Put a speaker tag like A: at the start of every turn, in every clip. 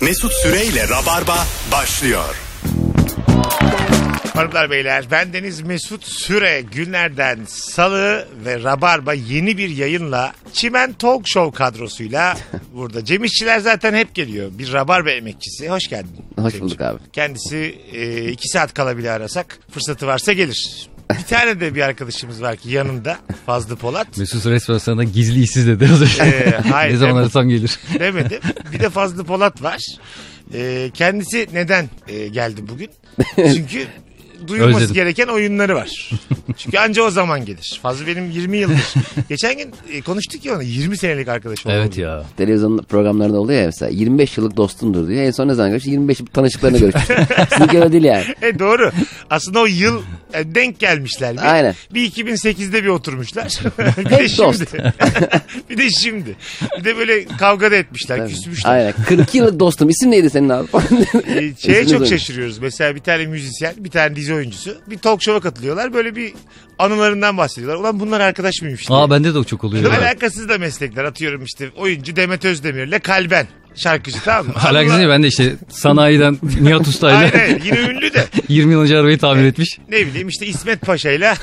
A: Mesut Süreyle Rabarba başlıyor.
B: Hanımlar beyler ben Deniz Mesut Süre günlerden salı ve Rabarba yeni bir yayınla Çimen Talk Show kadrosuyla burada. Cem İşçiler zaten hep geliyor. Bir Rabarba emekçisi. Hoş geldin.
C: Hoş
B: Cemciğim.
C: bulduk abi.
B: Kendisi e, iki saat kala bile arasak fırsatı varsa gelir. Bir tane de bir arkadaşımız var ki yanında Fazlı Polat.
D: Mesut resmen sana gizli işsiz dedi az önce.
B: Ee, hayır,
D: ne zaman
B: evet.
D: arasam gelir.
B: demedim. Bir de Fazlı Polat var. Ee, kendisi neden e, geldi bugün? Çünkü duyulması
D: Özledim.
B: gereken oyunları var. Çünkü anca o zaman gelir. Fazlı benim 20 yıldır. Geçen gün e, konuştuk ya onu 20 senelik arkadaşım.
D: Evet
B: oldu.
D: ya.
C: Televizyon programlarında oluyor ya mesela 25 yıllık dostumdur diyor. En son ne zaman görüştü? 25 tanışıklarını görüştü. Sizinki öyle değil yani.
B: E doğru. Aslında o yıl e, denk gelmişler. Bir,
C: Aynen.
B: Bir 2008'de bir oturmuşlar. bir de
C: Hep dost.
B: şimdi. bir de şimdi. Bir de böyle kavga da etmişler, küsmüşler.
C: Aynen. 42 yıllık dostum. İsim neydi senin abi?
B: E, şeye
C: İsmini
B: çok
C: duymuş.
B: şaşırıyoruz. Mesela bir tane müzisyen, bir tane dizi oyuncusu bir talk show'a katılıyorlar. Böyle bir anılarından bahsediyorlar. Ulan bunlar arkadaş mıymış? diye.
D: Aa bende de o çok oluyor. ya.
B: Alakasız da meslekler atıyorum işte oyuncu Demet Özdemir'le Kalben şarkıcı tamam mı?
D: Alakası
B: Anılar-
D: değil ben de işte sanayiden Nihat Usta'yla
B: Aynen yine ünlü de
D: 20 yıl önce arabayı tamir etmiş.
B: ne bileyim işte İsmet Paşa'yla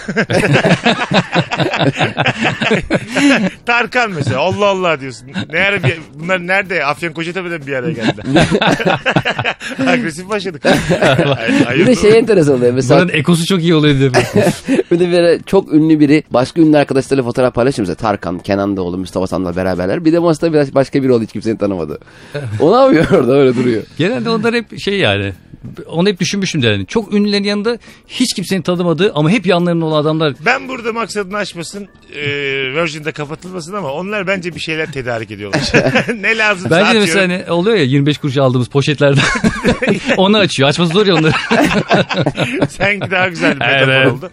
B: Tarkan mesela Allah Allah diyorsun. Ne ara bir, bunlar nerede? Afyon Kocatepe'den bir araya geldiler. Agresif başladık. Ay-
C: Bir
B: ayıp.
C: de şey enteresan oluyor. Mesela
D: Buranın ekosu çok iyi oluyor diye.
C: bir de böyle çok ünlü biri başka ünlü arkadaşlarıyla fotoğraf paylaşıyor. Mesela Tarkan, Kenan Doğulu, Mustafa Sandal beraberler. Bir de masada biraz başka biri oldu hiç kimsenin tanımadı. O ne yapıyor orada öyle duruyor.
D: Genelde onlar hep şey yani. Onu hep düşünmüşüm de yani. Çok ünlülerin yanında hiç kimsenin tanımadığı ama hep yanlarında olan adamlar.
B: Ben burada maksadını aşmasın, e, Virgin'de kapatılmasın ama onlar bence bir şeyler tedarik ediyorlar. ne lazımsa
D: Bence de
B: atıyorum.
D: mesela hani oluyor ya 25 kuruş aldığımız poşetlerden. onu açıyor. Açması zor ya onları.
B: Sanki daha güzel bir metafor
D: Evet.
B: oldu.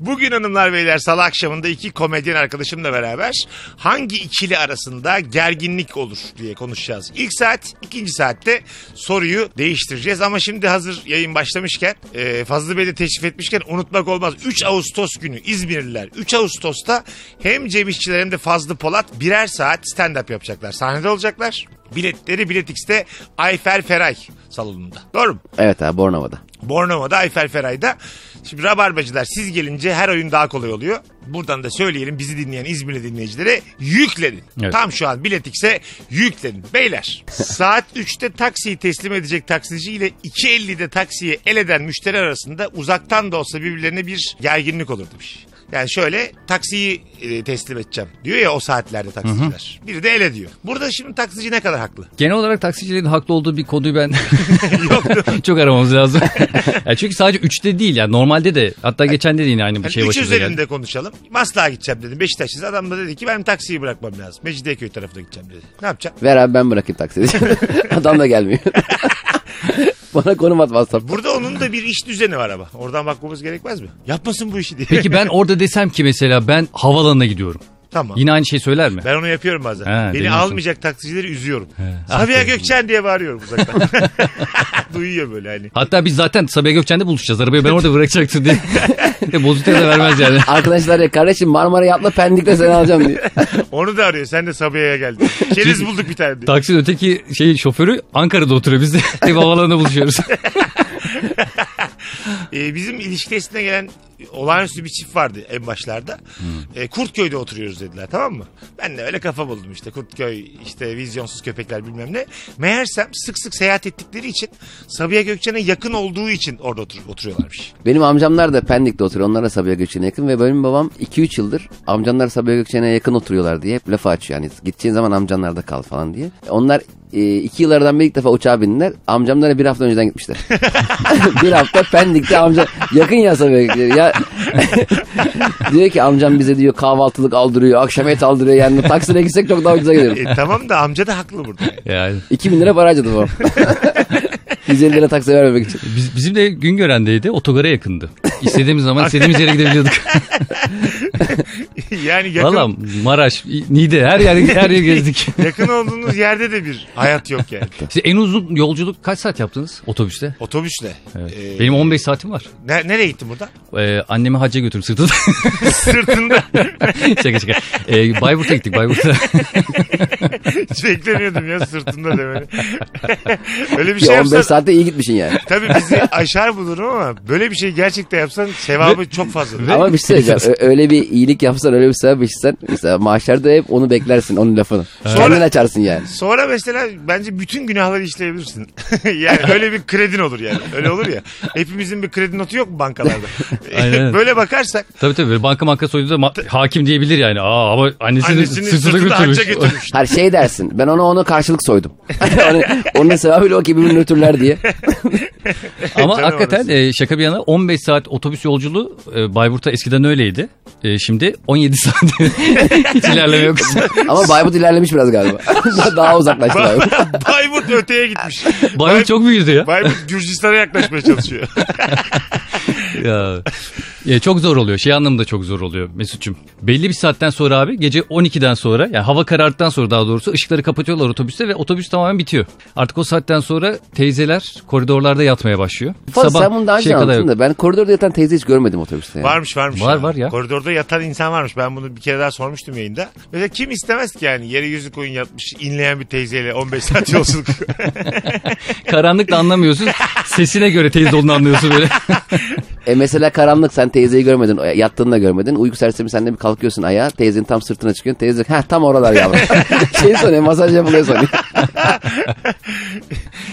B: Bugün hanımlar beyler salı akşamında iki komedyen arkadaşımla beraber hangi ikili arasında gerginlik olur diye konuşacağız. İlk saat, ikinci saatte soruyu değiştireceğiz. Ama şimdi hazır yayın başlamışken, e, Fazlı Bey de teşrif etmişken unutmak olmaz. 3 Ağustos günü İzmirliler 3 Ağustos'ta hem Cem İşçiler hem de Fazlı Polat birer saat stand-up yapacaklar. Sahnede olacaklar. Biletleri Biletix'te Ayfer Feray salonunda. Doğru mu?
C: Evet abi Bornova'da.
B: Bornova'da Ayfer Feray'da. Şimdi Rabarbacılar siz gelince her oyun daha kolay oluyor. Buradan da söyleyelim bizi dinleyen İzmirli dinleyicilere yüklenin.
D: Evet.
B: Tam şu an biletikse yüklenin. Beyler saat 3'te taksiyi teslim edecek taksici ile 2.50'de taksiye el eden müşteri arasında uzaktan da olsa birbirlerine bir gerginlik olur demiş. Yani şöyle taksiyi e, teslim edeceğim diyor ya o saatlerde taksiciler. Biri de el ediyor. Burada şimdi taksici ne kadar haklı?
D: Genel olarak taksicilerin haklı olduğu bir konuyu ben
B: Yoktu.
D: Çok aramamız lazım. Ya çünkü sadece 3'te değil yani normalde de hatta geçen de yine aynı bir
B: Hani
D: şey
B: üç
D: başımıza
B: üzerinde
D: geldi.
B: konuşalım. Maslak'a gideceğim dedim. Beşiktaş'ız. Adam da dedi ki ben taksiyi bırakmam lazım. Mecidiyeköy tarafına gideceğim dedi. Ne yapacağım?
C: Ver abi ben bırakayım taksiyi. Adam da gelmiyor. Bana konum at WhatsApp.
B: Burada onun da bir iş düzeni var ama. Oradan bakmamız gerekmez mi? Yapmasın bu işi diye.
D: Peki ben orada desem ki mesela ben havalanına gidiyorum.
B: tamam.
D: Yine aynı şey söyler mi?
B: Ben onu yapıyorum bazen.
D: He,
B: Beni
D: deniyorsun.
B: almayacak taksicileri üzüyorum. Sabiha
D: aferin.
B: Gökçen diye bağırıyorum uzaktan. Duyuyor böyle hani.
D: Hatta biz zaten Sabiha Gökçen'de buluşacağız. Arabayı ben orada bırakacaktım diye. De Bozukta da vermez yani.
C: Arkadaşlar ya kardeşim Marmara yapma Pendik'te seni alacağım diyor.
B: Onu da arıyor. Sen de Sabiha'ya geldin. Keriz bulduk bir tane diye.
D: Taksinin öteki şey şoförü Ankara'da oturuyor. Biz de hep havalanında buluşuyoruz.
B: Ee, bizim ilişki testine gelen olağanüstü bir çift vardı en başlarda. Ee, Kurtköy'de oturuyoruz dediler tamam mı? Ben de öyle kafa buldum işte Kurtköy işte vizyonsuz köpekler bilmem ne. Meğersem sık sık seyahat ettikleri için Sabiha Gökçen'e yakın olduğu için orada otur- oturuyorlarmış.
C: Benim amcamlar da Pendik'te oturuyor. Onlar da Sabiha Gökçen'e yakın ve benim babam 2-3 yıldır amcamlar Sabiha Gökçen'e yakın oturuyorlar diye hep lafı açıyor. Yani gideceğin zaman amcanlarda kal falan diye. Onlar e, 2 yıllardan bir ilk defa uçağa bindiler. Amcamlara bir hafta önceden gitmişler. bir hafta Pendik'te amca yakın ya Sabiha Gökçen'e. Ya... diyor ki amcam bize diyor kahvaltılık aldırıyor, akşam et aldırıyor. Yani taksiyle gitsek çok daha ucuza gidelim.
B: E, tamam da amca da haklı burada. yani.
D: Yani
C: 2000 lira para harcadı babam. 150 lira taksiye vermemek için.
D: biz, bizim de Güngören'deydi. Otogara yakındı. İstediğimiz zaman istediğimiz yere gidebiliyorduk.
B: yani yakın,
D: Valla Maraş, Niğde her yer her yer gezdik.
B: yakın olduğunuz yerde de bir hayat yok yani.
D: Siz en uzun yolculuk kaç saat yaptınız otobüste?
B: Otobüsle. Ee,
D: Benim 15 saatim var.
B: ne- nereye gittin burada?
D: Ee, annemi hacca götürdüm sırtında.
B: Sırtında.
D: şaka şaka. Ee, Bayburt'a gittik Bayburt'a.
B: Hiç beklemiyordum ya sırtında demeni. Öyle bir
C: Ki
B: şey
C: 15
B: yapsan
C: saatte iyi gitmişsin yani.
B: tabii bizi aşar bulur ama böyle bir şey gerçekten yapsan sevabı çok fazla.
C: Ama bir şey söyleyeceğim. Ö- öyle bir iyilik yapsan öyle bir sevap işsen mesela maaşlarda hep onu beklersin onun lafını. Kendin
B: Sonra-
C: açarsın yani.
B: Sonra mesela bence bütün günahları işleyebilirsin. yani öyle bir kredin olur yani. Öyle olur ya. Hepimizin bir kredi notu yok mu bankalarda?
D: Aynen.
B: Böyle bakarsak
D: tabii tabii böyle banka banka soyduğunda ma- hakim diyebilir yani. Aa ama annesini,
B: annesini
D: sırtında
B: sırtında
D: götürmüş.
B: hacca götürmüş.
C: Her şey dersin. Ben ona onu karşılık soydum. Hani onun sevabıyla o birbirini ötürler diye.
D: Ama
B: Canım
D: hakikaten
B: orası.
D: e, şaka bir yana 15 saat otobüs yolculuğu e, Bayburt'a eskiden öyleydi. E, şimdi 17 saat. Hiç ilerleme yok.
C: Ama Bayburt ilerlemiş biraz galiba. Daha uzaklaştı Bayburt.
B: Bayburt öteye gitmiş.
D: Bayburt çok büyüdü ya.
B: Bayburt Gürcistan'a yaklaşmaya çalışıyor.
D: ya. Ya çok zor oluyor. Şey anlamında çok zor oluyor Mesut'cum. Belli bir saatten sonra abi gece 12'den sonra yani hava kararttıktan sonra daha doğrusu ışıkları kapatıyorlar otobüste ve otobüs tamamen bitiyor. Artık o saatten sonra teyzeler koridorlarda yatmaya başlıyor.
C: Fazla sen bunu
B: şey
C: daha önce
D: şeye kadar
C: anlattın
D: yok.
C: da ben koridorda yatan teyze hiç görmedim otobüste. Yani.
B: Varmış varmış.
D: Var, var ya.
B: Koridorda yatan insan varmış. Ben bunu bir kere daha sormuştum yayında. Mesela kim istemez ki yani yere yüzü koyun yatmış inleyen bir teyzeyle 15 saat yolculuk.
D: Karanlıkla anlamıyorsun. Sesine göre teyze olduğunu anlıyorsun böyle.
C: E mesela karanlık sen teyzeyi görmedin, e, yattığını da görmedin. Uyku sersemi sen de bir kalkıyorsun ayağa, teyzenin tam sırtına çıkıyorsun. Teyze ha tam oralar yavrum. şey sanıyor, masaj yapılıyor sanıyor.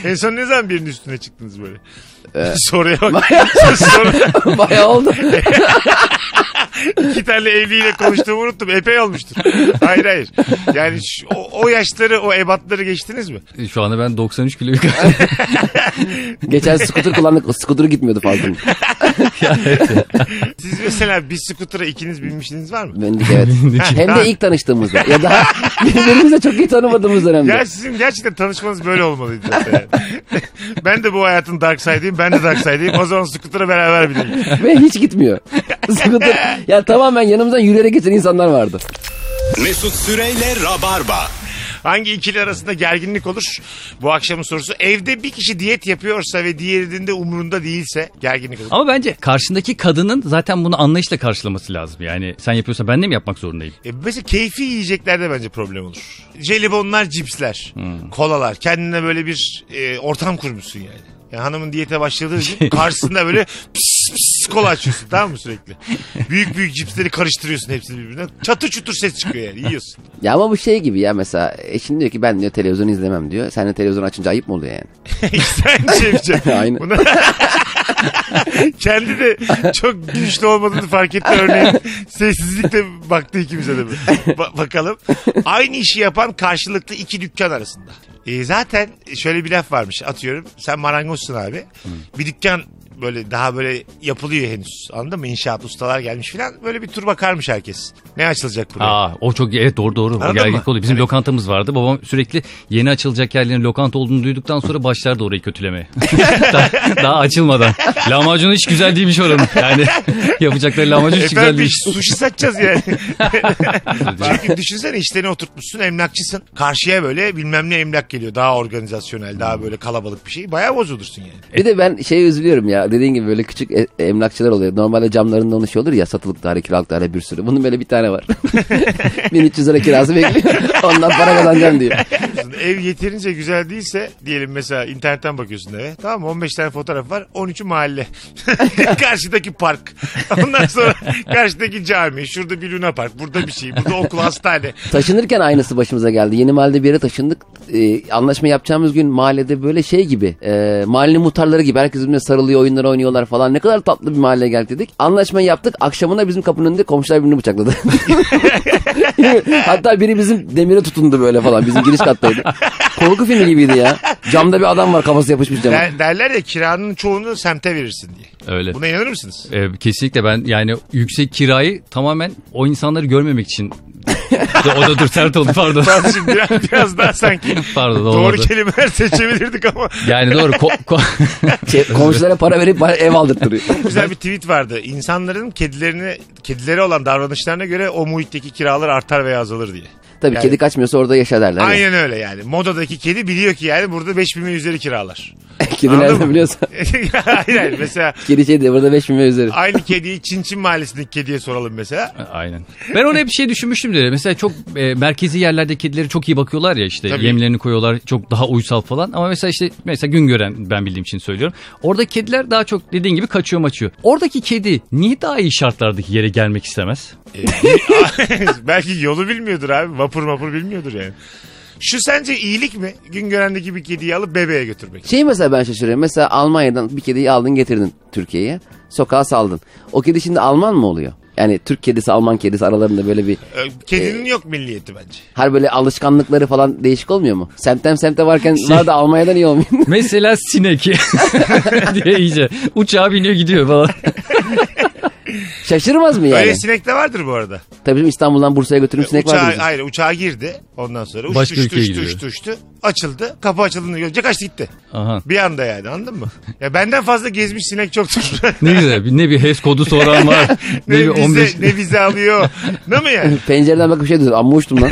B: en son ne zaman birinin üstüne çıktınız böyle? Soruya bak. Soru-
C: Bayağı oldu.
B: İki tane evliyle konuştuğumu unuttum. Epey olmuştur. Hayır hayır. Yani şu- o, o yaşları o ebatları geçtiniz mi?
D: Şu anda ben 93 kilo yukarı.
C: Geçen skuter kullandık, skuturu gitmiyordu fazla.
B: Siz mesela bir skutura ikiniz binmişsiniz var mı?
C: Bendik evet. Hem de ilk tanıştığımızda. Ya daha birbirimizi de çok iyi tanımadığımız dönemde.
B: Ya sizin gerçekten tanışmanız böyle olmalıydı. zaten. ben de bu hayatın dark side'ıyım. Ben de dark side'ıyım. O zaman skutura beraber binelim.
C: Ve hiç gitmiyor. Skuter, ya tamamen yanımızdan yürüyerek geçen insanlar vardı.
A: Mesut Süreyle Rabarba.
B: Hangi ikili arasında gerginlik olur? Bu akşamın sorusu. Evde bir kişi diyet yapıyorsa ve diğerinin de umurunda değilse gerginlik olur.
D: Ama bence karşındaki kadının zaten bunu anlayışla karşılaması lazım. Yani sen yapıyorsan ben de mi yapmak zorundayım?
B: E mesela keyfi yiyeceklerde bence problem olur. Jelibonlar, cipsler, kolalar. Kendine böyle bir e, ortam kurmuşsun yani. Ya hanımın diyete başladığı gün karşısında böyle pis pis kola açıyorsun tamam mı sürekli? Büyük büyük cipsleri karıştırıyorsun hepsini birbirine. Çatır çutur ses çıkıyor yani yiyorsun.
C: Ya ama bu şey gibi ya mesela eşin diyor ki ben diyor televizyon izlemem diyor. Sen de televizyon açınca ayıp mı oluyor yani?
B: Sen şey yapacaksın.
C: Aynen.
B: Bunu... Kendi de çok güçlü olmadığını fark etti örneğin. Sessizlikle baktı ikimize de. Ba- bakalım. Aynı işi yapan karşılıklı iki dükkan arasında. E, zaten şöyle bir laf varmış atıyorum. Sen marangozsun abi. Bir dükkan böyle daha böyle yapılıyor henüz. Anladın mı? İnşaat ustalar gelmiş filan. Böyle bir tur bakarmış herkes. Ne açılacak buraya?
D: Aa, o çok evet doğru doğru. O
B: Anladın
D: gerginlik
B: mı?
D: oluyor. Bizim lokantamız vardı. Babam sürekli yeni açılacak yerlerin lokanta olduğunu duyduktan sonra başlardı orayı kötülemeye. daha, daha açılmadan. Lahmacun hiç güzel değilmiş oranın. Yani yapacakları lahmacun hiç güzel
B: Efendim
D: değilmiş.
B: biz sushi satacağız yani. Çünkü düşünsene işlerini oturtmuşsun emlakçısın. Karşıya böyle bilmem ne emlak geliyor. Daha organizasyonel daha böyle kalabalık bir şey. Bayağı bozulursun yani.
C: Bir de ben şey üzülüyorum ya dediğin gibi böyle küçük e- emlakçılar oluyor. Normalde camlarında onun şey olur ya satılık daire kiralık daire bir sürü. Bunun böyle bir tane var. 1300 lira kirası bekliyor. Ondan para kazanacağım diyor.
B: Biliyorsun, Ev yeterince güzel değilse diyelim mesela internetten bakıyorsun eve. Tamam mı? 15 tane fotoğraf var. 13'ü mahalle. Karşıdaki park. Ondan sonra karşıdaki cami. Şurada bir luna park. Burada bir şey. Burada okul hastane.
C: Taşınırken aynısı başımıza geldi. Yeni mahallede bir yere taşındık. Ee, anlaşma yapacağımız gün mahallede böyle şey gibi. E, mahalle muhtarları gibi. Herkes birbirine sarılıyor, oyunlar oynuyorlar falan. Ne kadar tatlı bir mahalleye geldik dedik. Anlaşmayı yaptık. Akşamında bizim kapının önünde komşular birbirini bıçakladı. Hatta biri bizim demire tutundu böyle falan. Bizim giriş kattaydı. Korku filmi gibiydi ya. Camda bir adam var kafası yapışmış cama.
B: Der- derler ya kiranın çoğunu semte verirsin diye.
D: Öyle.
B: Buna inanır mısınız?
D: Ee, kesinlikle ben yani yüksek kirayı tamamen o insanları görmemek için Ya o da dur sert oldu pardon.
B: Tamam şimdi biraz, biraz daha sanki
D: Pardon
B: doğru
D: olmadı.
B: kelimeler seçebilirdik ama
D: Yani doğru. ko- ko-
C: Şey, komşulara para verip bana ev aldırtırıyor.
B: güzel bir tweet vardı. İnsanların kedilerini kedileri olan davranışlarına göre o muhitteki kiralar artar veya azalır diye.
C: Tabii
B: Yani-
C: kedi kaçmıyorsa orada yaşa derler.
B: Aynen öyle yani. Modadaki kedi biliyor ki yani burada 5000 ve üzeri kiralar.
C: kedi
B: Anladın
C: nereden
B: mı?
C: biliyorsa.
B: Aynen mesela
C: Kedi şey diyor burada 5 milyon üzeri.
B: aynı kediyi Çin Çin mahallesindeki kediye soralım mesela.
D: Aynen. Ben ona bir şey düşünmüştüm de. Mesela çok e, merkezi yerlerde kedileri çok iyi bakıyorlar ya işte.
B: Tabii.
D: Yemlerini koyuyorlar çok daha uysal falan. Ama mesela işte mesela gün gören ben bildiğim için söylüyorum. Oradaki kediler daha çok dediğin gibi kaçıyor maçıyor. Oradaki kedi niye daha iyi şartlardaki yere gelmek istemez?
B: Belki yolu bilmiyordur abi. Vapur vapur bilmiyordur yani. Şu sence iyilik mi? Gün görendeki bir kediyi alıp bebeğe götürmek.
C: Şey mesela ben şaşırıyorum. Mesela Almanya'dan bir kediyi aldın getirdin Türkiye'ye. Sokağa saldın. O kedi şimdi Alman mı oluyor? Yani Türk kedisi Alman kedisi aralarında böyle bir...
B: Ee, Kedinin yok milliyeti bence.
C: Her böyle alışkanlıkları falan değişik olmuyor mu? Semtem semte varken bunlar da Almanya'dan iyi olmuyor. mu?
D: Mesela sinek diye iyice uçağa biniyor gidiyor falan.
C: Şaşırmaz mı yani?
B: Öyle sinek de vardır bu arada.
C: Tabii canım İstanbul'dan Bursa'ya götürüp sinek
B: uçağa,
C: var bizim.
B: Hayır uçağa girdi. Ondan sonra uçtu
D: Başka
B: uçtu
D: ülkeye
B: uçtu,
D: gidiyor.
B: uçtu uçtu. Açıldı. Kapı açıldığını görecek kaçtı gitti.
D: Aha.
B: Bir anda yani anladın mı? Ya benden fazla gezmiş sinek çoktur.
D: Ne güzel. Ne bir HES kodu soran var. ne,
B: ne,
D: bir
B: vize,
D: 15.
B: ne vize alıyor. ne mi yani?
C: Pencereden bakıp şey diyor. Amma uçtum lan.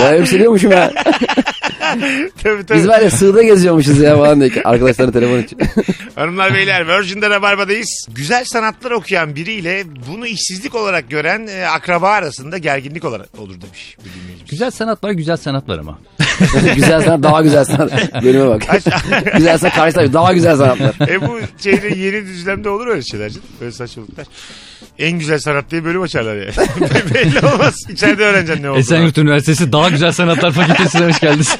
C: Bayağı yükseliyormuşum şey ya.
B: tabii tabii.
C: Biz var ya sığda geziyormuşuz ya falan diye. Arkadaşlarına telefon açıyor.
B: Hanımlar beyler Virgin'de Rabarba'dayız. Güzel sanatlar okuyan biriyle bunu işsizlik olarak gören e, akraba arasında gerginlik olarak olur demiş. bir dinleyicimiz.
D: Güzel sanat var güzel sanatlar ama.
C: güzel sanat daha güzel sanat. Bölüme bak. güzel sanat karşı taraf daha güzel sanatlar.
B: e bu şeyde yeni düzlemde olur öyle şeyler canım. Böyle saçmalıklar. En güzel sanat diye bölüm açarlar ya. Belli olmaz. İçeride öğreneceksin ne olduğunu.
D: Esenyurt Üniversitesi daha güzel sanatlar fakültesine hoş geldiniz.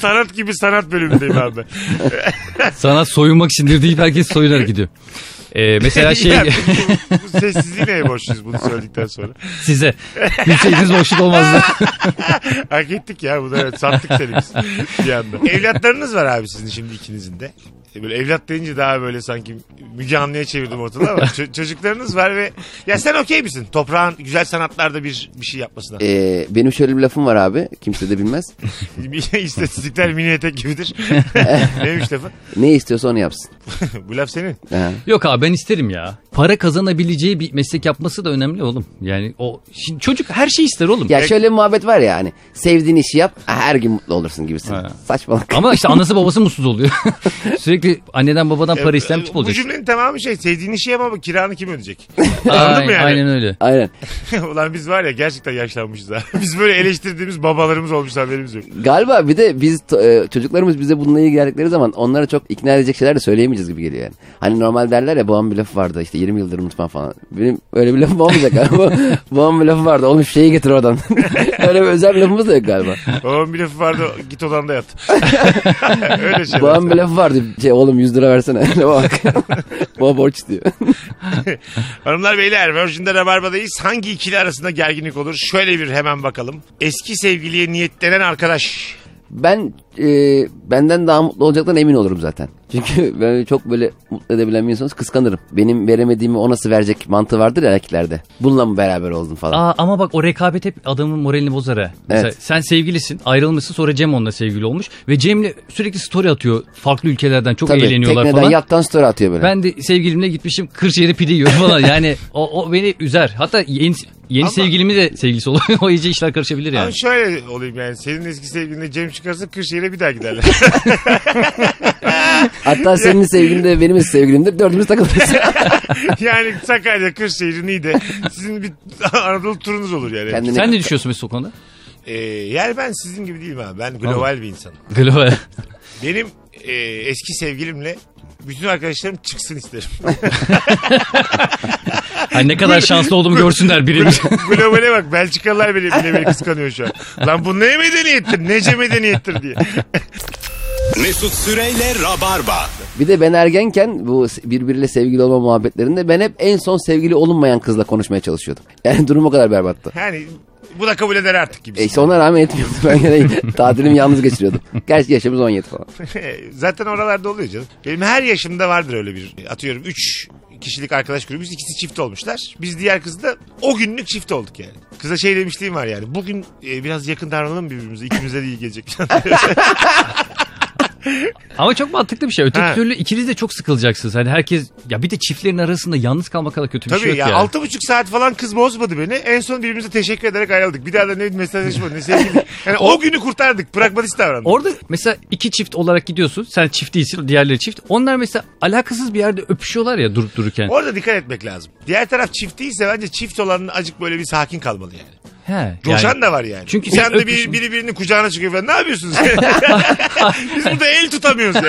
B: sanat gibi sanat bölümündeyim abi.
D: Sanat soyunmak için deyip herkes soyunarak gidiyor. Ee, mesela şey
B: Ya peki bu- bu sessizliği neye borçluyuz bunu söyledikten sonra?
D: size bilseydiniz boşluk olmazdı.
B: Hak ettik ya bunu evet sattık seni biz bir anda. Evlatlarınız var abi sizin şimdi ikinizin de. E Böyle evlat deyince daha böyle sanki Müge Anlı'ya çevirdim ortada ama ço- çocuklarınız var ve ya sen okey misin? Toprağın güzel sanatlarda bir bir şey yapmasına.
C: Ee, benim şöyle bir lafım var abi. Kimse de bilmez.
B: İstatistikler mini etek gibidir. Neymiş lafı?
C: Ne istiyorsa onu yapsın.
B: Bu laf senin.
C: Ha.
D: Yok abi ben isterim ya. Para kazanabileceği bir meslek yapması da önemli oğlum. Yani o şimdi çocuk her şeyi ister oğlum.
C: Ya şöyle bir muhabbet var ya hani sevdiğin işi yap her gün mutlu olursun gibisin.
D: Ha.
C: Saçmalık.
D: Ama işte anası babası mutsuz oluyor. Sürekli anneden babadan para isteyen
B: E,
D: tip
B: Bu
D: olacak.
B: cümlenin tamamı şey sevdiğin işi yap ama kiranı kim ödeyecek?
D: Ay-
B: mı yani?
D: Aynen öyle.
C: Aynen.
B: Ulan biz var ya gerçekten yaşlanmışız ha. Biz böyle eleştirdiğimiz babalarımız olmuş haberimiz yok.
C: Galiba bir de biz to- e, çocuklarımız bize bununla ilgili geldikleri zaman onlara çok ikna edecek şeyler de söyleyemeyeceğiz gibi geliyor yani. Hani normal derler ya babam bir lafı vardı işte 20 yıldır unutmam falan. Benim öyle bir lafım olmayacak galiba. babam bir lafı vardı oğlum şu şeyi getir oradan. öyle bir özel lafımız da yok galiba.
B: Babamın bir lafı vardı git odanda yat. Öyle şeyler.
C: Babam bir lafı vardı şey oğlum 100 lira versene. Öyle bak. Baba borç istiyor.
B: Hanımlar beyler Virgin'de Rabarba'dayız. Hangi ikili arasında gerginlik olur? Şöyle bir hemen bakalım. Eski sevgiliye niyetlenen arkadaş.
C: Ben e, benden daha mutlu olacaktan emin olurum zaten. Çünkü ben çok böyle mutlu edebilen bir insanız kıskanırım. Benim veremediğimi o nasıl verecek mantığı vardır ya erkeklerde. Bununla mı beraber oldun falan.
D: Aa, ama bak o rekabet hep adamın moralini bozar ha. Mesela
C: Evet.
D: sen sevgilisin ayrılmışsın sonra Cem onunla sevgili olmuş. Ve Cem'le sürekli story atıyor farklı ülkelerden çok
C: Tabii
D: eğleniyorlar
C: tekneden
D: falan.
C: yattan story atıyor böyle.
D: Ben de sevgilimle gitmişim Kırşehir'e pide yiyorum falan. Yani o, o beni üzer. Hatta yeni, yeni
B: Ama-
D: sevgilimi de sevgilisi oluyor. o iyice işler karışabilir yani.
B: Ama şöyle olayım yani. Senin eski sevgilinle Cem çıkarsa Kırşehir'e bir daha giderler.
C: Hatta senin sevgilin de benim sevgilimdir. Dördümüz takılırız.
B: yani Sakarya, Kırşehir, Niğde. Sizin bir Anadolu turunuz olur yani.
C: Kendini-
D: Sen ne düşünüyorsun mesela o konuda?
B: Ee, yani ben sizin gibi değilim abi. Ben global bir insanım.
D: Global.
B: Benim e, eski sevgilimle bütün arkadaşlarım çıksın isterim.
D: Hani ne kadar şanslı olduğumu görsünler birimiz.
B: Globale bak Belçikalılar bile, bile beni kıskanıyor şu an. Lan bu ne medeniyettir? Nece medeniyettir diye.
A: Mesut Süreyle Rabarba.
C: bir de ben ergenken bu birbiriyle sevgili olma muhabbetlerinde ben hep en son sevgili olunmayan kızla konuşmaya çalışıyordum. Yani durum o kadar berbattı.
B: Yani bu da kabul eder artık
C: E
B: gibi.
C: işte ona rağmen etmiyordu. Ben yine tatilimi yalnız geçiriyordum. Gerçi yaşımız 17 falan.
B: E, Zaten oralarda oluyor canım. Benim her yaşımda vardır öyle bir atıyorum 3 kişilik arkadaş grubumuz. İkisi çift olmuşlar. Biz diğer kızla o günlük çift olduk yani. Kıza şey demişliğim var yani. Bugün e, biraz yakın davranalım birbirimize. İkimize de iyi gelecek.
D: Ama çok mantıklı bir şey. Öteki
B: Ha.
D: türlü ikiniz de çok sıkılacaksınız. Hani herkes ya bir de çiftlerin arasında yalnız kalmak kadar kötü bir
B: Tabii
D: şey yok
B: ya
D: yani.
B: altı buçuk saat falan kız bozmadı beni. En son birbirimize teşekkür ederek ayrıldık. Bir daha da ne mesajlaşmadı ne sevgili. Yani o, günü kurtardık. Pragmatist davrandık.
D: Orada mesela iki çift olarak gidiyorsun. Sen çift değilsin, diğerleri çift. Onlar mesela alakasız bir yerde öpüşüyorlar ya durup dururken.
B: Orada dikkat etmek lazım. Diğer taraf çift değilse bence çift olanın acık böyle bir sakin kalmalı yani.
D: He, yani.
B: Coşan da var yani.
D: Çünkü
B: Çünkü
D: sen
B: sen de bir,
D: öpüşün-
B: biri birinin kucağına çıkıyor falan. Ne yapıyorsunuz? Biz burada el tutamıyoruz ya.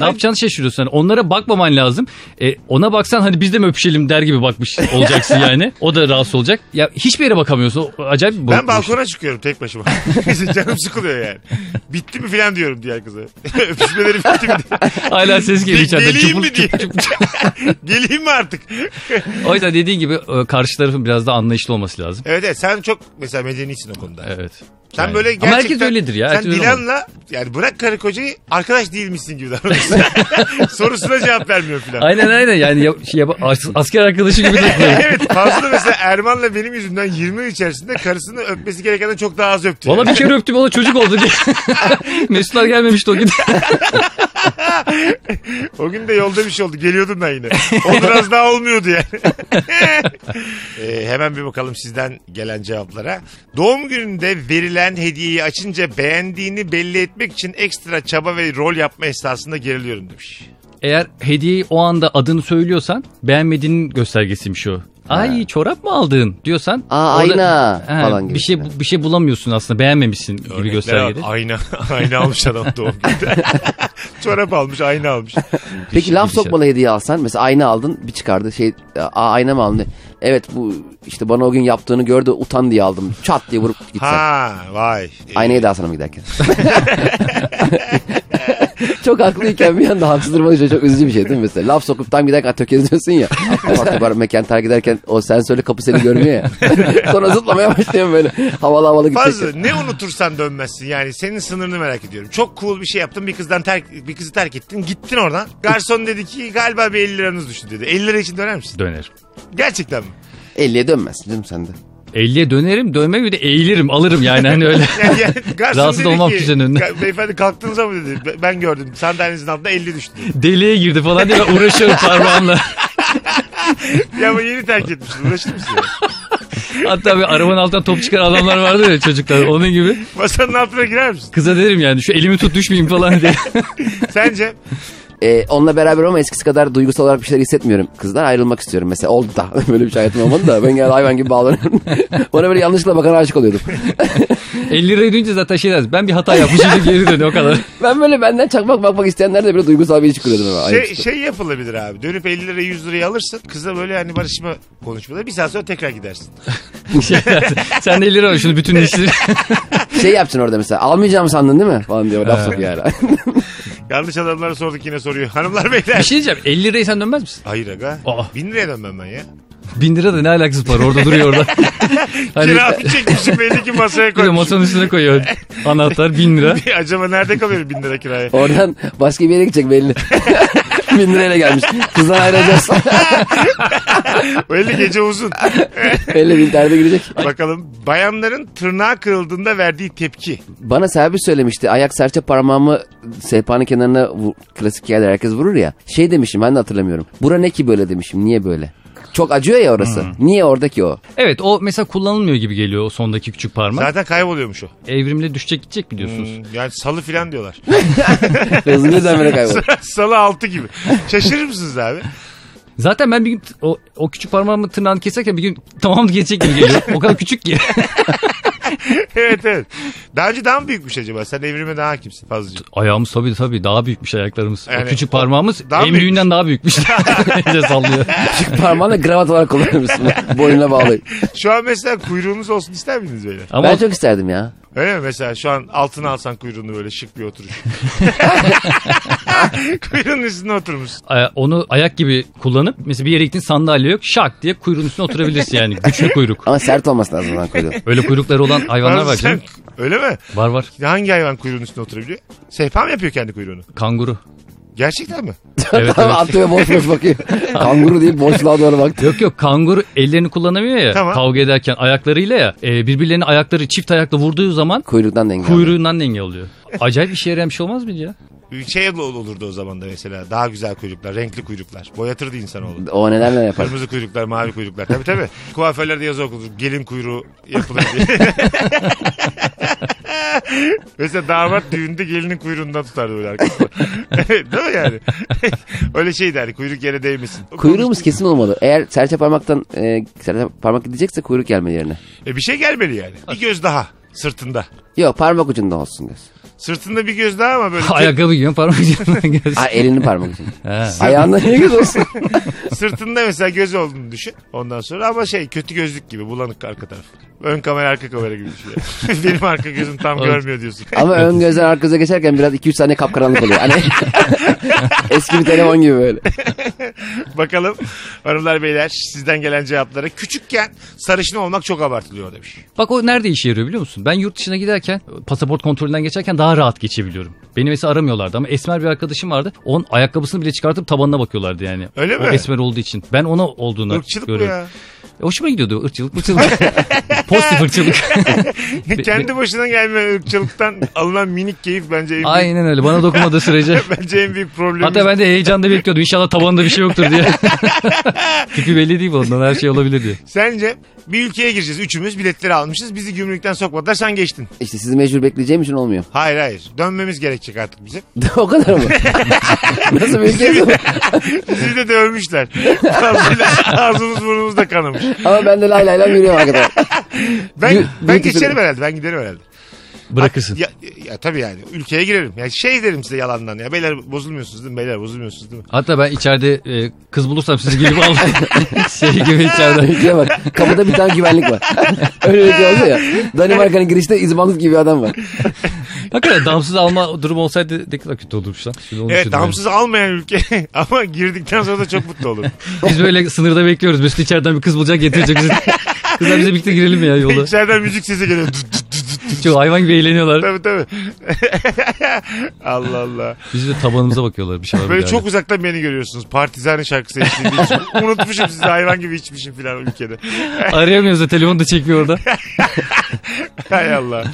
D: Ne yapacağını şaşırıyorsun. Hani onlara bakmaman lazım. E, ona baksan hani biz de mi öpüşelim der gibi bakmış olacaksın yani. O da rahatsız olacak. Ya hiçbir yere bakamıyorsun. O Acayip bir
B: Ben
D: boyut bu işin.
B: balkona çıkıyorum tek başıma. Canım sıkılıyor yani. Bitti mi falan diyorum diğer kıza. Öpüşmeleri bitti mi diye.
D: Hala ses geliyor
B: Ge-
D: içeriden.
B: geleyim
D: Çupul
B: mi diye.
D: çup çup.
B: Geleyim mi artık?
D: O yüzden dediğin gibi e, karşı tarafın biraz da anlayışlı olması lazım.
B: Evet evet sen çok mesela medenisin o konuda.
D: Evet.
B: Sen
D: Yani.
B: böyle gerçekten...
D: Ama herkes öyledir ya.
B: Sen
D: herkes öyle olmalı.
B: Dilan'la yani bırak karı kocayı arkadaş değilmişsin gibi davranıyorsun. Sorusuna cevap vermiyor falan.
D: Aynen aynen yani ya- şey yap- as- asker arkadaşı gibi takılıyor.
B: evet fazla mesela Erman'la benim yüzümden 20 yıl içerisinde karısını öpmesi gerekenden çok daha az öptü.
D: Valla bir kere öptüm o da çocuk oldu diye. Mesutlar gelmemişti o gün.
B: O gün de yolda bir şey oldu. Geliyordum ben yine. O biraz daha olmuyordu yani. Ee, hemen bir bakalım sizden gelen cevaplara. Doğum gününde verilen hediyeyi açınca beğendiğini belli etmek için ekstra çaba ve rol yapma esnasında geriliyorum demiş.
D: Eğer hediyeyi o anda adını söylüyorsan beğenmediğinin göstergesiymiş o. Ay çorap mı aldın diyorsan.
C: Aa, ayna falan gibi.
D: Bir şey, bir şey bulamıyorsun aslında beğenmemişsin gibi göstergede.
B: Örnekler var. Ayna, ayna almış adam doğum gününde. Çorap almış, ayna almış.
C: Peki laf
D: bir şey.
C: sokmalı hediye alsan mesela ayna aldın bir çıkardı şey aa ayna mı aldın? Evet bu işte bana o gün yaptığını gördü utan diye aldım çat diye vurup gitsen.
B: Ha, vay. Ee,
C: Aynayı da alsana mı giderken? çok haklıyken bir anda haksız durmak için çok üzücü bir şey değil mi mesela? Laf sokup tam giderken tökezliyorsun ya. Apar topar mekan terk ederken o sensörlü kapı seni görmüyor ya. Sonra zıplamaya başlıyorsun böyle havalı havalı
B: Fazla
C: gidecek.
B: ne unutursan dönmezsin yani senin sınırını merak ediyorum. Çok cool bir şey yaptın bir kızdan terk bir kızı terk ettin gittin oradan. Garson dedi ki galiba bir 50 liranız düştü dedi. 50 lira için döner misin?
D: Dönerim.
B: Gerçekten mi?
C: 50'ye dönmezsin canım sen de.
D: 50'ye dönerim dönme bir de eğilirim alırım yani hani öyle.
B: Yani, yani garson
D: Rahatsız
B: dedi
D: olmam
B: ki,
D: kimsenin önünde.
B: "Ga- Beyefendi kalktınız ama dedi. "Be- Ben gördüm sandalyenizin altında 50 düştü. dedi.
D: Deliğe girdi falan diye ben uğraşıyorum parmağımla.
B: Ya ama yeni terk etmişsin uğraşır mısın? ya?
D: Hatta bir arabanın altından top çıkan adamlar vardı ya çocuklar onun gibi.
B: Masanın altına girer misin?
D: Kıza derim yani şu elimi tut düşmeyeyim falan diye.
B: Sence?
C: Ee, onunla beraber ama eskisi kadar duygusal olarak bir şeyler hissetmiyorum. Kızdan ayrılmak istiyorum mesela. Oldu da. Böyle bir şey hayatım olmadı da. Ben gel hayvan gibi bağlanıyorum. Bana böyle yanlışlıkla bakan aşık oluyordum.
D: 50 lirayı duyunca zaten şey dersin. Ben bir hata yapmışım diye geri dönüyor o kadar.
C: Ben böyle benden çakmak bakmak isteyenlerle böyle duygusal bir ilişki kuruyordum. hemen.
B: Şey,
C: Ayıptı.
B: şey yapılabilir abi. Dönüp 50 lira 100 lirayı alırsın. Kızla böyle hani barışma konuşmaları. Bir saat sonra tekrar gidersin.
D: Şey dersin, Sen de 50 lira ver şunu bütün işleri.
C: Şey yapacaksın orada mesela almayacağım sandın değil mi? Falan diye laf sokuyor hala.
B: Yanlış adamlara sorduk yine soruyor. Hanımlar beyler.
D: Bir şey diyeceğim 50 lirayı sen dönmez misin?
B: Hayır aga.
D: Aa.
B: Bin liraya dönmem ben ya.
D: 1000 lira da ne alakası var orada duruyor orada. Hani
B: Kira bir çekmişim belli ki masaya
D: bir de
B: koymuş.
D: masanın üstüne koyuyor anahtar 1000 lira.
B: Acaba nerede kalıyor bin lira kiraya?
C: Oradan başka bir yere gidecek belli. Bin lirayla gelmiş. Kızdan ayrılacağız.
B: Belli gece uzun.
C: belli bin terde gidecek.
B: Bakalım bayanların tırnağı kırıldığında verdiği tepki.
C: Bana servis söylemişti. Ayak serçe parmağımı sehpanın kenarına vu- klasik yerler herkes vurur ya. Şey demişim ben de hatırlamıyorum. Bura ne ki böyle demişim. Niye böyle? Çok acıyor ya orası. Niye oradaki o?
D: Evet o mesela kullanılmıyor gibi geliyor o sondaki küçük parmak.
B: Zaten Hmm. kayboluyormuş o.
D: Evrimle düşecek gidecek biliyorsunuz.
B: Yani salı filan diyorlar.
C: Hızlı demire kaybol.
B: salı altı gibi. Şaşırır mısınız abi?
D: Zaten ben bir gün t- o, o küçük parmağımın tırnağını keserken bir gün tamam geçecek gibi geliyor. O kadar küçük ki.
B: evet evet. Daha önce daha mı büyükmüş acaba? Sen evrime daha hakimsin fazlaca.
D: Ayağımız tabii tabii daha büyükmüş ayaklarımız.
B: Yani
D: o küçük parmağımız
B: daha
D: en büyüğünden daha büyükmüş. İyice sallıyor.
C: Parmağını gravat olarak kullanıyorsun. Boynuna bağlayıp.
B: Şu an mesela kuyruğunuz olsun ister miydiniz böyle?
D: Ama
C: Ben
D: o-
C: çok isterdim ya.
B: Öyle mi mesela şu an altına alsan kuyruğunu böyle şık bir oturuş. Kuyruğunun üstüne oturmuş.
D: Ay- e, onu ayak gibi kullanıp mesela bir yere gittin sandalye yok şak diye kuyruğun üstüne oturabilirsin yani güçlü kuyruk.
C: Ama sert olması lazım lan kuyruğu.
D: Öyle kuyrukları olan hayvanlar var
B: Sen-
D: canım.
B: Öyle mi?
D: Var var
B: Hangi hayvan kuyruğunun üstüne oturabiliyor? Sehpa mı yapıyor kendi kuyruğunu?
D: kanguru.
B: Gerçekten mi?
D: Evet, evet.
C: Atıyor boş boş bakıyor. Kanguru deyip boşluğa doğru baktı.
D: Yok yok kanguru ellerini kullanamıyor ya
B: Tamam.
D: kavga ederken ayaklarıyla ya e, birbirlerini ayakları çift ayakla vurduğu zaman
C: Kuyruktan denge. aldı.
D: kuyruğundan denge oluyor. Acayip işe yarayan bir şey olmaz mıydı ya?
B: Şey ol- olurdu o zaman da mesela. Daha güzel kuyruklar, renkli kuyruklar. Boyatırdı insanoğlu.
C: O neler neler yapar.
B: Kırmızı kuyruklar, mavi kuyruklar. Tabii tabii. Kuaförlerde yazı okulur. Gelin kuyruğu yapılır diye. Mesela damat düğünde gelinin kuyruğundan tutardı böyle arkasında. Değil mi yani? Öyle şey derdi. Kuyruk yere değmesin. O
C: Kuyruğumuz kesin olmalı. Eğer serçe parmaktan e, serçe parmak gidecekse kuyruk gelme yerine.
B: E bir şey gelmeli yani. Bir göz daha sırtında.
C: Yok parmak ucunda olsun göz.
B: Sırtında bir göz daha ama böyle tek-
D: Ayakkabı giyiyorum parmak ucundan gelsin.
C: Ha elini parmak ucunda.
D: Ha.
C: Ayağında niye göz olsun?
B: sırtında mesela göz olduğunu düşün. Ondan sonra ama şey kötü gözlük gibi bulanık arka taraf. Ön kamera arka kamera gibi düşün. yani. Benim arka gözüm tam görmüyor diyorsun.
C: Ama ön gözden arka göze geçerken biraz 2-3 saniye kapkaranlık oluyor. Hani eski bir telefon gibi böyle.
B: Bakalım hanımlar beyler sizden gelen cevaplara. Küçükken sarışın olmak çok abartılıyor demiş.
D: Bak o nerede işe yarıyor biliyor musun? Ben yurt dışına giderken pasaport kontrolünden geçerken daha rahat geçebiliyorum. Beni mesela aramıyorlardı ama esmer bir arkadaşım vardı. Onun ayakkabısını bile çıkartıp tabanına bakıyorlardı yani.
B: Öyle
D: O
B: mi?
D: Esmer olduğu için. Ben ona olduğunu
B: Irkçılık bu
D: görüyorum.
B: ya.
D: E, Hoşuma gidiyordu o ırkçılık, ırkçılık. Pozitif ırkçılık.
B: Ne kendi başına gelmeyen ırkçılıktan alınan minik keyif bence en büyük,
D: Aynen öyle. Bana dokunmadığı sürece.
B: bence en büyük problemi.
D: Hatta ben de heyecanla bekliyordum. İnşallah tabanında bir şey yoktur diye. Tipi belli değil ondan her şey olabilir diye.
B: Sence bir ülkeye gireceğiz. Üçümüz biletleri almışız. Bizi gümrükten sokmadılar. Sen geçtin.
C: İşte sizi mecbur bekleyeceğim için olmuyor.
B: Hayır hayır. Dönmemiz gerekecek artık bize.
C: o kadar mı? Nasıl bir ülke bu?
B: Bizi de dövmüşler. Ağzıyla- Ağzımız burnumuz da kanamış.
C: Ama ben de lay lay lay yürüyorum arkadan.
B: Ben,
C: Gü-
B: ben
C: gürültüsü-
B: geçerim herhalde. Ben giderim herhalde.
D: Bırakırsın.
B: Ya, ya tabii yani. Ülkeye girerim. Ya şey derim size yalandan. Ya beyler bozulmuyorsunuz değil mi? Beyler bozulmuyorsunuz değil mi?
D: Hatta ben içeride e, kız bulursam sizi gelip al. şey gibi içeride.
C: Ülkeye bak. Kapıda bir tane güvenlik var. Öyle bir şey olsa ya. Danimarka'nın girişte izbanlık gibi adam var.
D: Hakikaten damsız alma durumu olsaydı ne kadar kötü olurmuş lan. Şimdi onu
B: Evet
D: düşündüm
B: damsız almayan ülke. Ama girdikten sonra da çok mutlu olurum.
D: yani. Biz böyle sınırda bekliyoruz. Mesut içeriden bir kız bulacak getirecek bizi. Kızlar bize birlikte girelim ya yola.
B: İçeriden müzik sesi geliyor. Düt düt düt düt.
D: Çok hayvan gibi eğleniyorlar.
B: tabii tabii. Allah Allah.
D: Biz de tabanımıza bakıyorlar bir şey var. mı
B: Böyle
D: yani.
B: çok uzaktan beni görüyorsunuz. Partizani şarkısı eşliğinde içim- Unutmuşum sizi hayvan gibi içmişim filan ülkede.
D: Arayamıyoruz da telefonu da çekmiyor orada.
B: Hay Allah.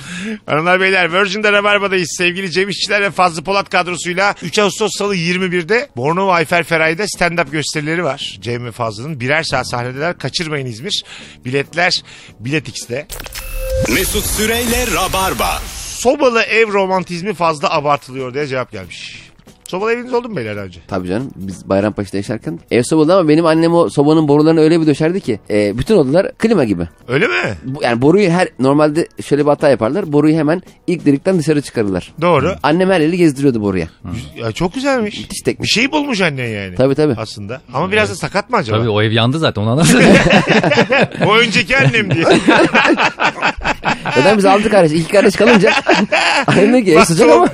B: Hanımlar beyler Virgin'de Rabarba'dayız. Sevgili Cem İşçiler ve Fazlı Polat kadrosuyla 3 Ağustos Salı 21'de Bornova Ayfer Feray'da stand-up gösterileri var. Cem ve Fazlı'nın birer saat sahnedeler. Kaçırmayın İzmir. Biletler Bilet X'de.
A: Mesut Süreyle Rabarba.
B: Sobalı ev romantizmi fazla abartılıyor diye cevap gelmiş. Sobalı eviniz oldu mu beyler daha önce?
C: Tabii canım biz Bayrampaşa'da yaşarken ev sobalı ama benim annem o sobanın borularını öyle bir döşerdi ki e, bütün odalar klima gibi.
B: Öyle mi?
C: Bu- Yani boruyu her normalde şöyle bir hata yaparlar. Boruyu hemen ilk delikten dışarı çıkarırlar.
B: Doğru.
C: Annem her eli gezdiriyordu boruya.
B: Ya çok güzelmiş.
C: Müthiş
B: Bir
C: teknik.
B: şey bulmuş annen yani.
C: Tabii tabii.
B: Aslında. Ama biraz da sakat mı acaba?
D: Tabii o ev yandı zaten onu anlarsın.
B: O önceki annem diye.
C: Neden biz altı kardeş? iki kardeş kalınca. Annem dedi ki ev sıcak ama.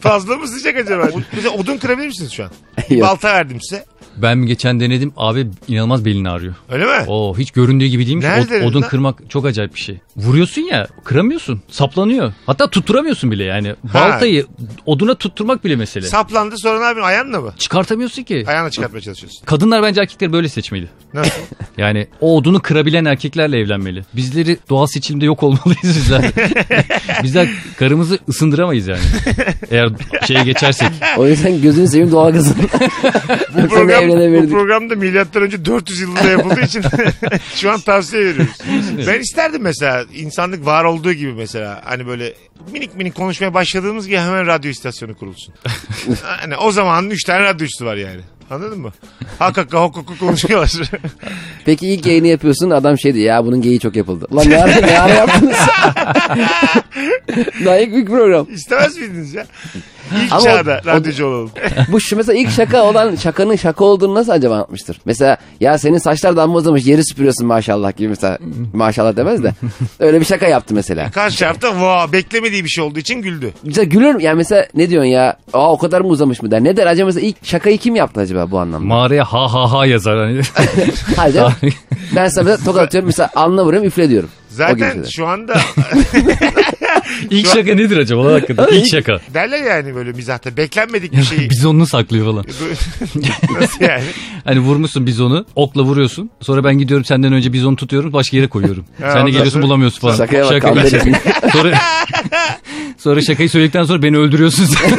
B: Fazla mı sıcak acaba? O- Mesela odun kırabilir misiniz şu an? Bir
C: Yok.
B: Balta verdim size.
D: ben geçen denedim abi inanılmaz belini ağrıyor.
B: Öyle mi?
D: Oo hiç göründüğü gibi değil mi?
B: Nerede dedin
D: odun
B: lan?
D: kırmak çok acayip bir şey. Vuruyorsun ya kıramıyorsun. Saplanıyor. Hatta tutturamıyorsun bile yani.
B: Ha.
D: Baltayı oduna tutturmak bile mesele.
B: Saplandı sonra ne yapıyorsun? Ayağınla mı?
D: Çıkartamıyorsun ki.
B: Ayağına çıkartmaya çalışıyorsun.
D: Kadınlar bence erkekleri böyle seçmeli.
B: Nasıl?
D: Yani o odunu kırabilen erkeklerle evlenmeli. Bizleri doğal seçilimde yok olmalıyız bizler. bizler karımızı ısındıramayız yani. Eğer şeye geçersek.
C: O yüzden gözünü seveyim doğal kızım.
B: bu,
C: Yoksa ne
B: program, bu
C: evlenebilirdik?
B: program da milattan önce 400 yılında yapıldığı için şu an tavsiye veriyoruz. ben isterdim mesela insanlık var olduğu gibi mesela hani böyle minik minik konuşmaya başladığımız gibi hemen radyo istasyonu kurulsun. hani o zamanın 3 tane radyocusu var yani. Anladın mı? Hakaka hukuku konuşuyorlar.
C: Peki ilk yayını yapıyorsun adam şey diyor ya bunun geyiği çok yapıldı. Ulan ne ara, ne ara yaptınız? Daha ilk büyük program.
B: İstemez miydiniz ya? İlk
C: Ama o-
B: çağda
C: o-
B: radyocu olalım.
C: Bu şu mesela ilk şaka olan şakanın şaka olduğunu nasıl acaba anlatmıştır? Mesela ya senin saçlar damla uzamış yeri süpürüyorsun maşallah gibi mesela maşallah demez de. Öyle bir şaka yaptı mesela.
B: Karşı
D: Şey-
B: tarafta vaa beklemediği bir şey olduğu için güldü.
C: Mesela gülür yani mesela ne diyorsun ya aa o kadar mı uzamış mı der. Ne der acaba mesela ilk şakayı kim yaptı acaba bu anlamda?
D: Mağaraya ha ha ha yazar. Hani.
C: Hayır canım. ben sana mesela tokat atıyorum mesela alnına vuruyorum üfle diyorum. O gibi
B: Zaten
C: şeyler.
B: şu anda
D: İlk şaka nedir acaba lan hakikaten? İlk şaka.
B: Derler yani böyle mizahta beklenmedik bir şeyi.
D: Bizonunu saklıyor falan.
B: Nasıl yani?
D: Hani vurmuşsun bizonu, okla vuruyorsun. Sonra ben gidiyorum senden önce bizonu tutuyorum, başka yere koyuyorum. Sen
B: ondan
D: de geliyorsun
B: sonra-
D: bulamıyorsun falan.
C: Şakaya bak,
D: Şaka-
C: kandırırsın.
D: sonra, sonra şakayı söyledikten sonra beni öldürüyorsun sen.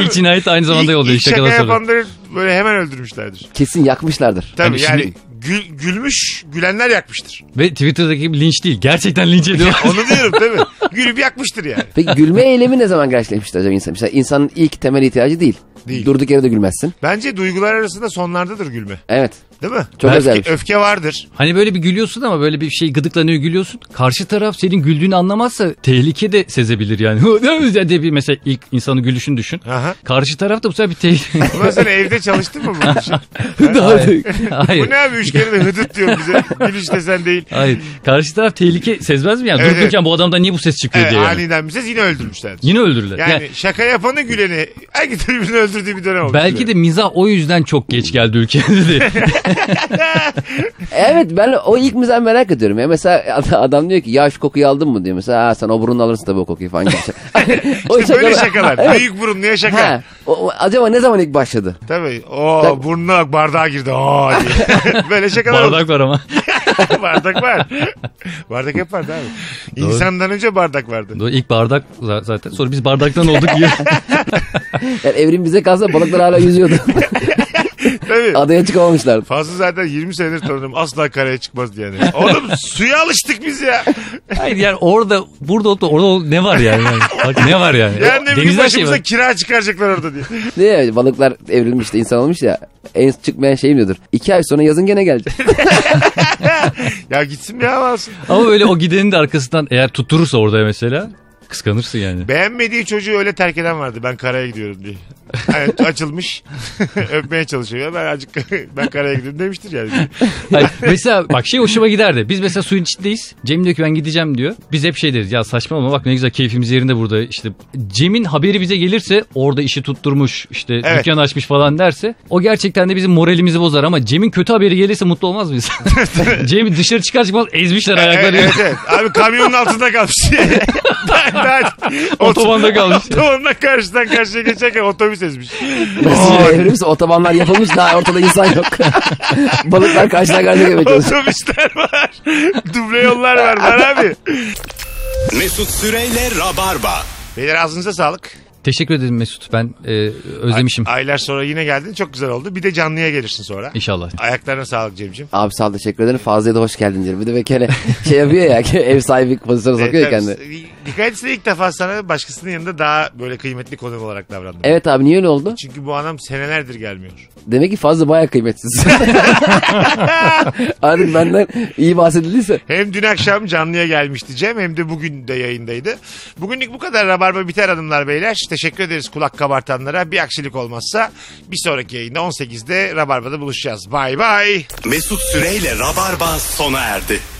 D: İlk cinayet aynı zamanda
B: İlk,
D: oluyor.
B: ilk
D: İlk
B: şaka
D: şakadan sonra.
B: yapanları böyle hemen öldürmüşlerdir.
C: Kesin yakmışlardır.
B: Tabii
D: Yani
B: yani,
D: şimdi-
B: gül- gülmüş gülenler yakmıştır.
D: Ve Twitter'daki gibi linç değil. Gerçekten linç ediyorlar.
B: Onu diyorum değil mi? Gülüp yakmıştır yani.
C: Peki gülme eylemi ne zaman gerçekleşmiştir acaba insan? Mesela insanın ilk temel ihtiyacı değil.
B: Değil.
C: Durduk yere de gülmezsin.
B: Bence duygular arasında sonlardadır gülme.
C: Evet.
B: Değil mi?
C: Çok
D: Belki
C: özel. bir şey.
B: Öfke vardır.
D: Hani böyle bir gülüyorsun ama böyle bir şey gıdıklanıyor gülüyorsun. Karşı taraf senin güldüğünü anlamazsa tehlike de sezebilir yani. de bir mesela ilk insanın gülüşünü düşün.
B: Aha.
D: Karşı taraf da bu sefer bir tehlike.
B: Ulan sen evde çalıştın mı bu işi?
D: Hayır. Hayır.
B: Bu ne abi üç kere de hıdıt diyor bize. Gülüş desen değil.
D: Hayır. Karşı taraf tehlike sezmez mi yani?
B: Evet,
D: Durup dururken bu adamdan niye bu ses çıkıyor
B: Evet,
D: diye. yani.
B: aniden bir ses yine öldürmüşlerdir.
D: Yine öldürürler.
B: Yani,
D: Yani
B: şaka yapanı güleni herkes birbirini öldürdüğü bir dönem olmuş.
D: belki de mizah o yüzden çok geç geldi ülkede de.
C: Evet ben o ilk mizahı merak ediyorum. Ya mesela ad- adam diyor ki ya şu kokuyu aldın mı diyor. Mesela ha, sen o burunla alırsın tabii o kokuyu falan. Gibi. şey. o
B: İşte böyle
C: şakalar-
B: şakalar. Büyük burun niye şaka?
C: Ha, o- o- acaba ne zaman ilk başladı?
B: Tabii. Oo burnuna bak bardağa girdi. Oo diye. Böyle şakalar olur.
D: Bardak var ama.
B: bardak var. bardak hep vardı abi. İnsandan önce bardak vardı.
D: Doğru, İlk bardak za- zaten. Sonra biz bardaktan olduk diye.
C: Yani evrim bize kalsa balıklar hala yüzüyordu.
B: Tabii.
C: Adaya çıkamamışlardı.
B: Fazla zaten 20 senedir tanıdım. Asla karaya çıkmaz diye. Yani. Oğlum suya alıştık biz ya.
D: Hayır yani orada burada olup da orada ol- ne var yani? Yani Bak ne var yani?
B: Yani ne bileyim
D: Denizden şey
B: başımıza
D: var.
B: kira çıkaracaklar orada diye.
C: Ne balıklar evrilmiş de insan olmuş ya. En çıkmayan şey miyordur? İki ay sonra yazın gene gelecek.
B: Ya gitsin bir hava alsın.
D: Ama böyle o gidenin de arkasından eğer tutturursa orada mesela kıskanırsın yani.
B: Beğenmediği çocuğu öyle terk eden vardı. Ben karaya gidiyorum diye. Yani açılmış. Öpmeye çalışıyor. Ben azıcık ben karaya gidiyorum demiştir yani.
D: Hayır, mesela bak şey hoşuma giderdi. Biz mesela suyun içindeyiz. Cem diyor ki ben gideceğim diyor. Biz hep şey deriz ya saçmalama bak ne güzel keyfimiz yerinde burada işte. Cem'in haberi bize gelirse orada işi tutturmuş işte
B: Evet.
D: dükkan açmış falan derse o gerçekten de bizim moralimizi bozar ama Cem'in kötü haberi gelirse mutlu olmaz mıyız? Cem dışarı çıkar çıkmaz ezmişler
B: Evet,
D: ayakları.
B: evet, evet. Abi kamyonun altında kalmış. ben, ben,
D: Otobanda kalmış.
B: Otobanda karşıdan karşıya geçerken otobüs ezmiş.
C: Nasıl evrimse otobanlar yapılmış daha ortada insan yok. balıklar karşıdan karşıya geçiyor.
B: Otobüsler var. Duble yollar var var abi.
A: Mesut Süreyle Rabarba.
B: Beyler ağzınıza sağlık.
D: Teşekkür ederim Mesut ben e, özlemişim
B: Aylar sonra yine geldin. Çok güzel oldu. Bir de canlıya gelirsin sonra.
D: inşallah.
B: Ayaklarına sağlık Cem'ciğim.
C: Abi sağ ol teşekkür ederim. Fazla'ya da hoş geldin diyorum. Bir de bekare şey yapıyor ya ev sahibi pozisyonu sokuyor ya
B: Evet,
C: kendini.
B: tabii. Dikkat etsene ilk defa sana başkasının yanında daha böyle kıymetli konum olarak davrandım.
C: Evet abi niye öyle oldu?
B: Çünkü bu adam senelerdir gelmiyor.
C: Demek ki fazla bayağı kıymetsiz. Artık benden iyi bahsedildiyse.
B: Hem dün akşam canlıya gelmişti Cem hem de bugün de yayındaydı. Bugünlük bu kadar Rabarba biter hanımlar beyler. Teşekkür ederiz kulak kabartanlara. Bir aksilik olmazsa bir sonraki yayında 18'de Rabarba'da buluşacağız. Bay bay.
A: Mesut Süreyle Rabarba sona erdi.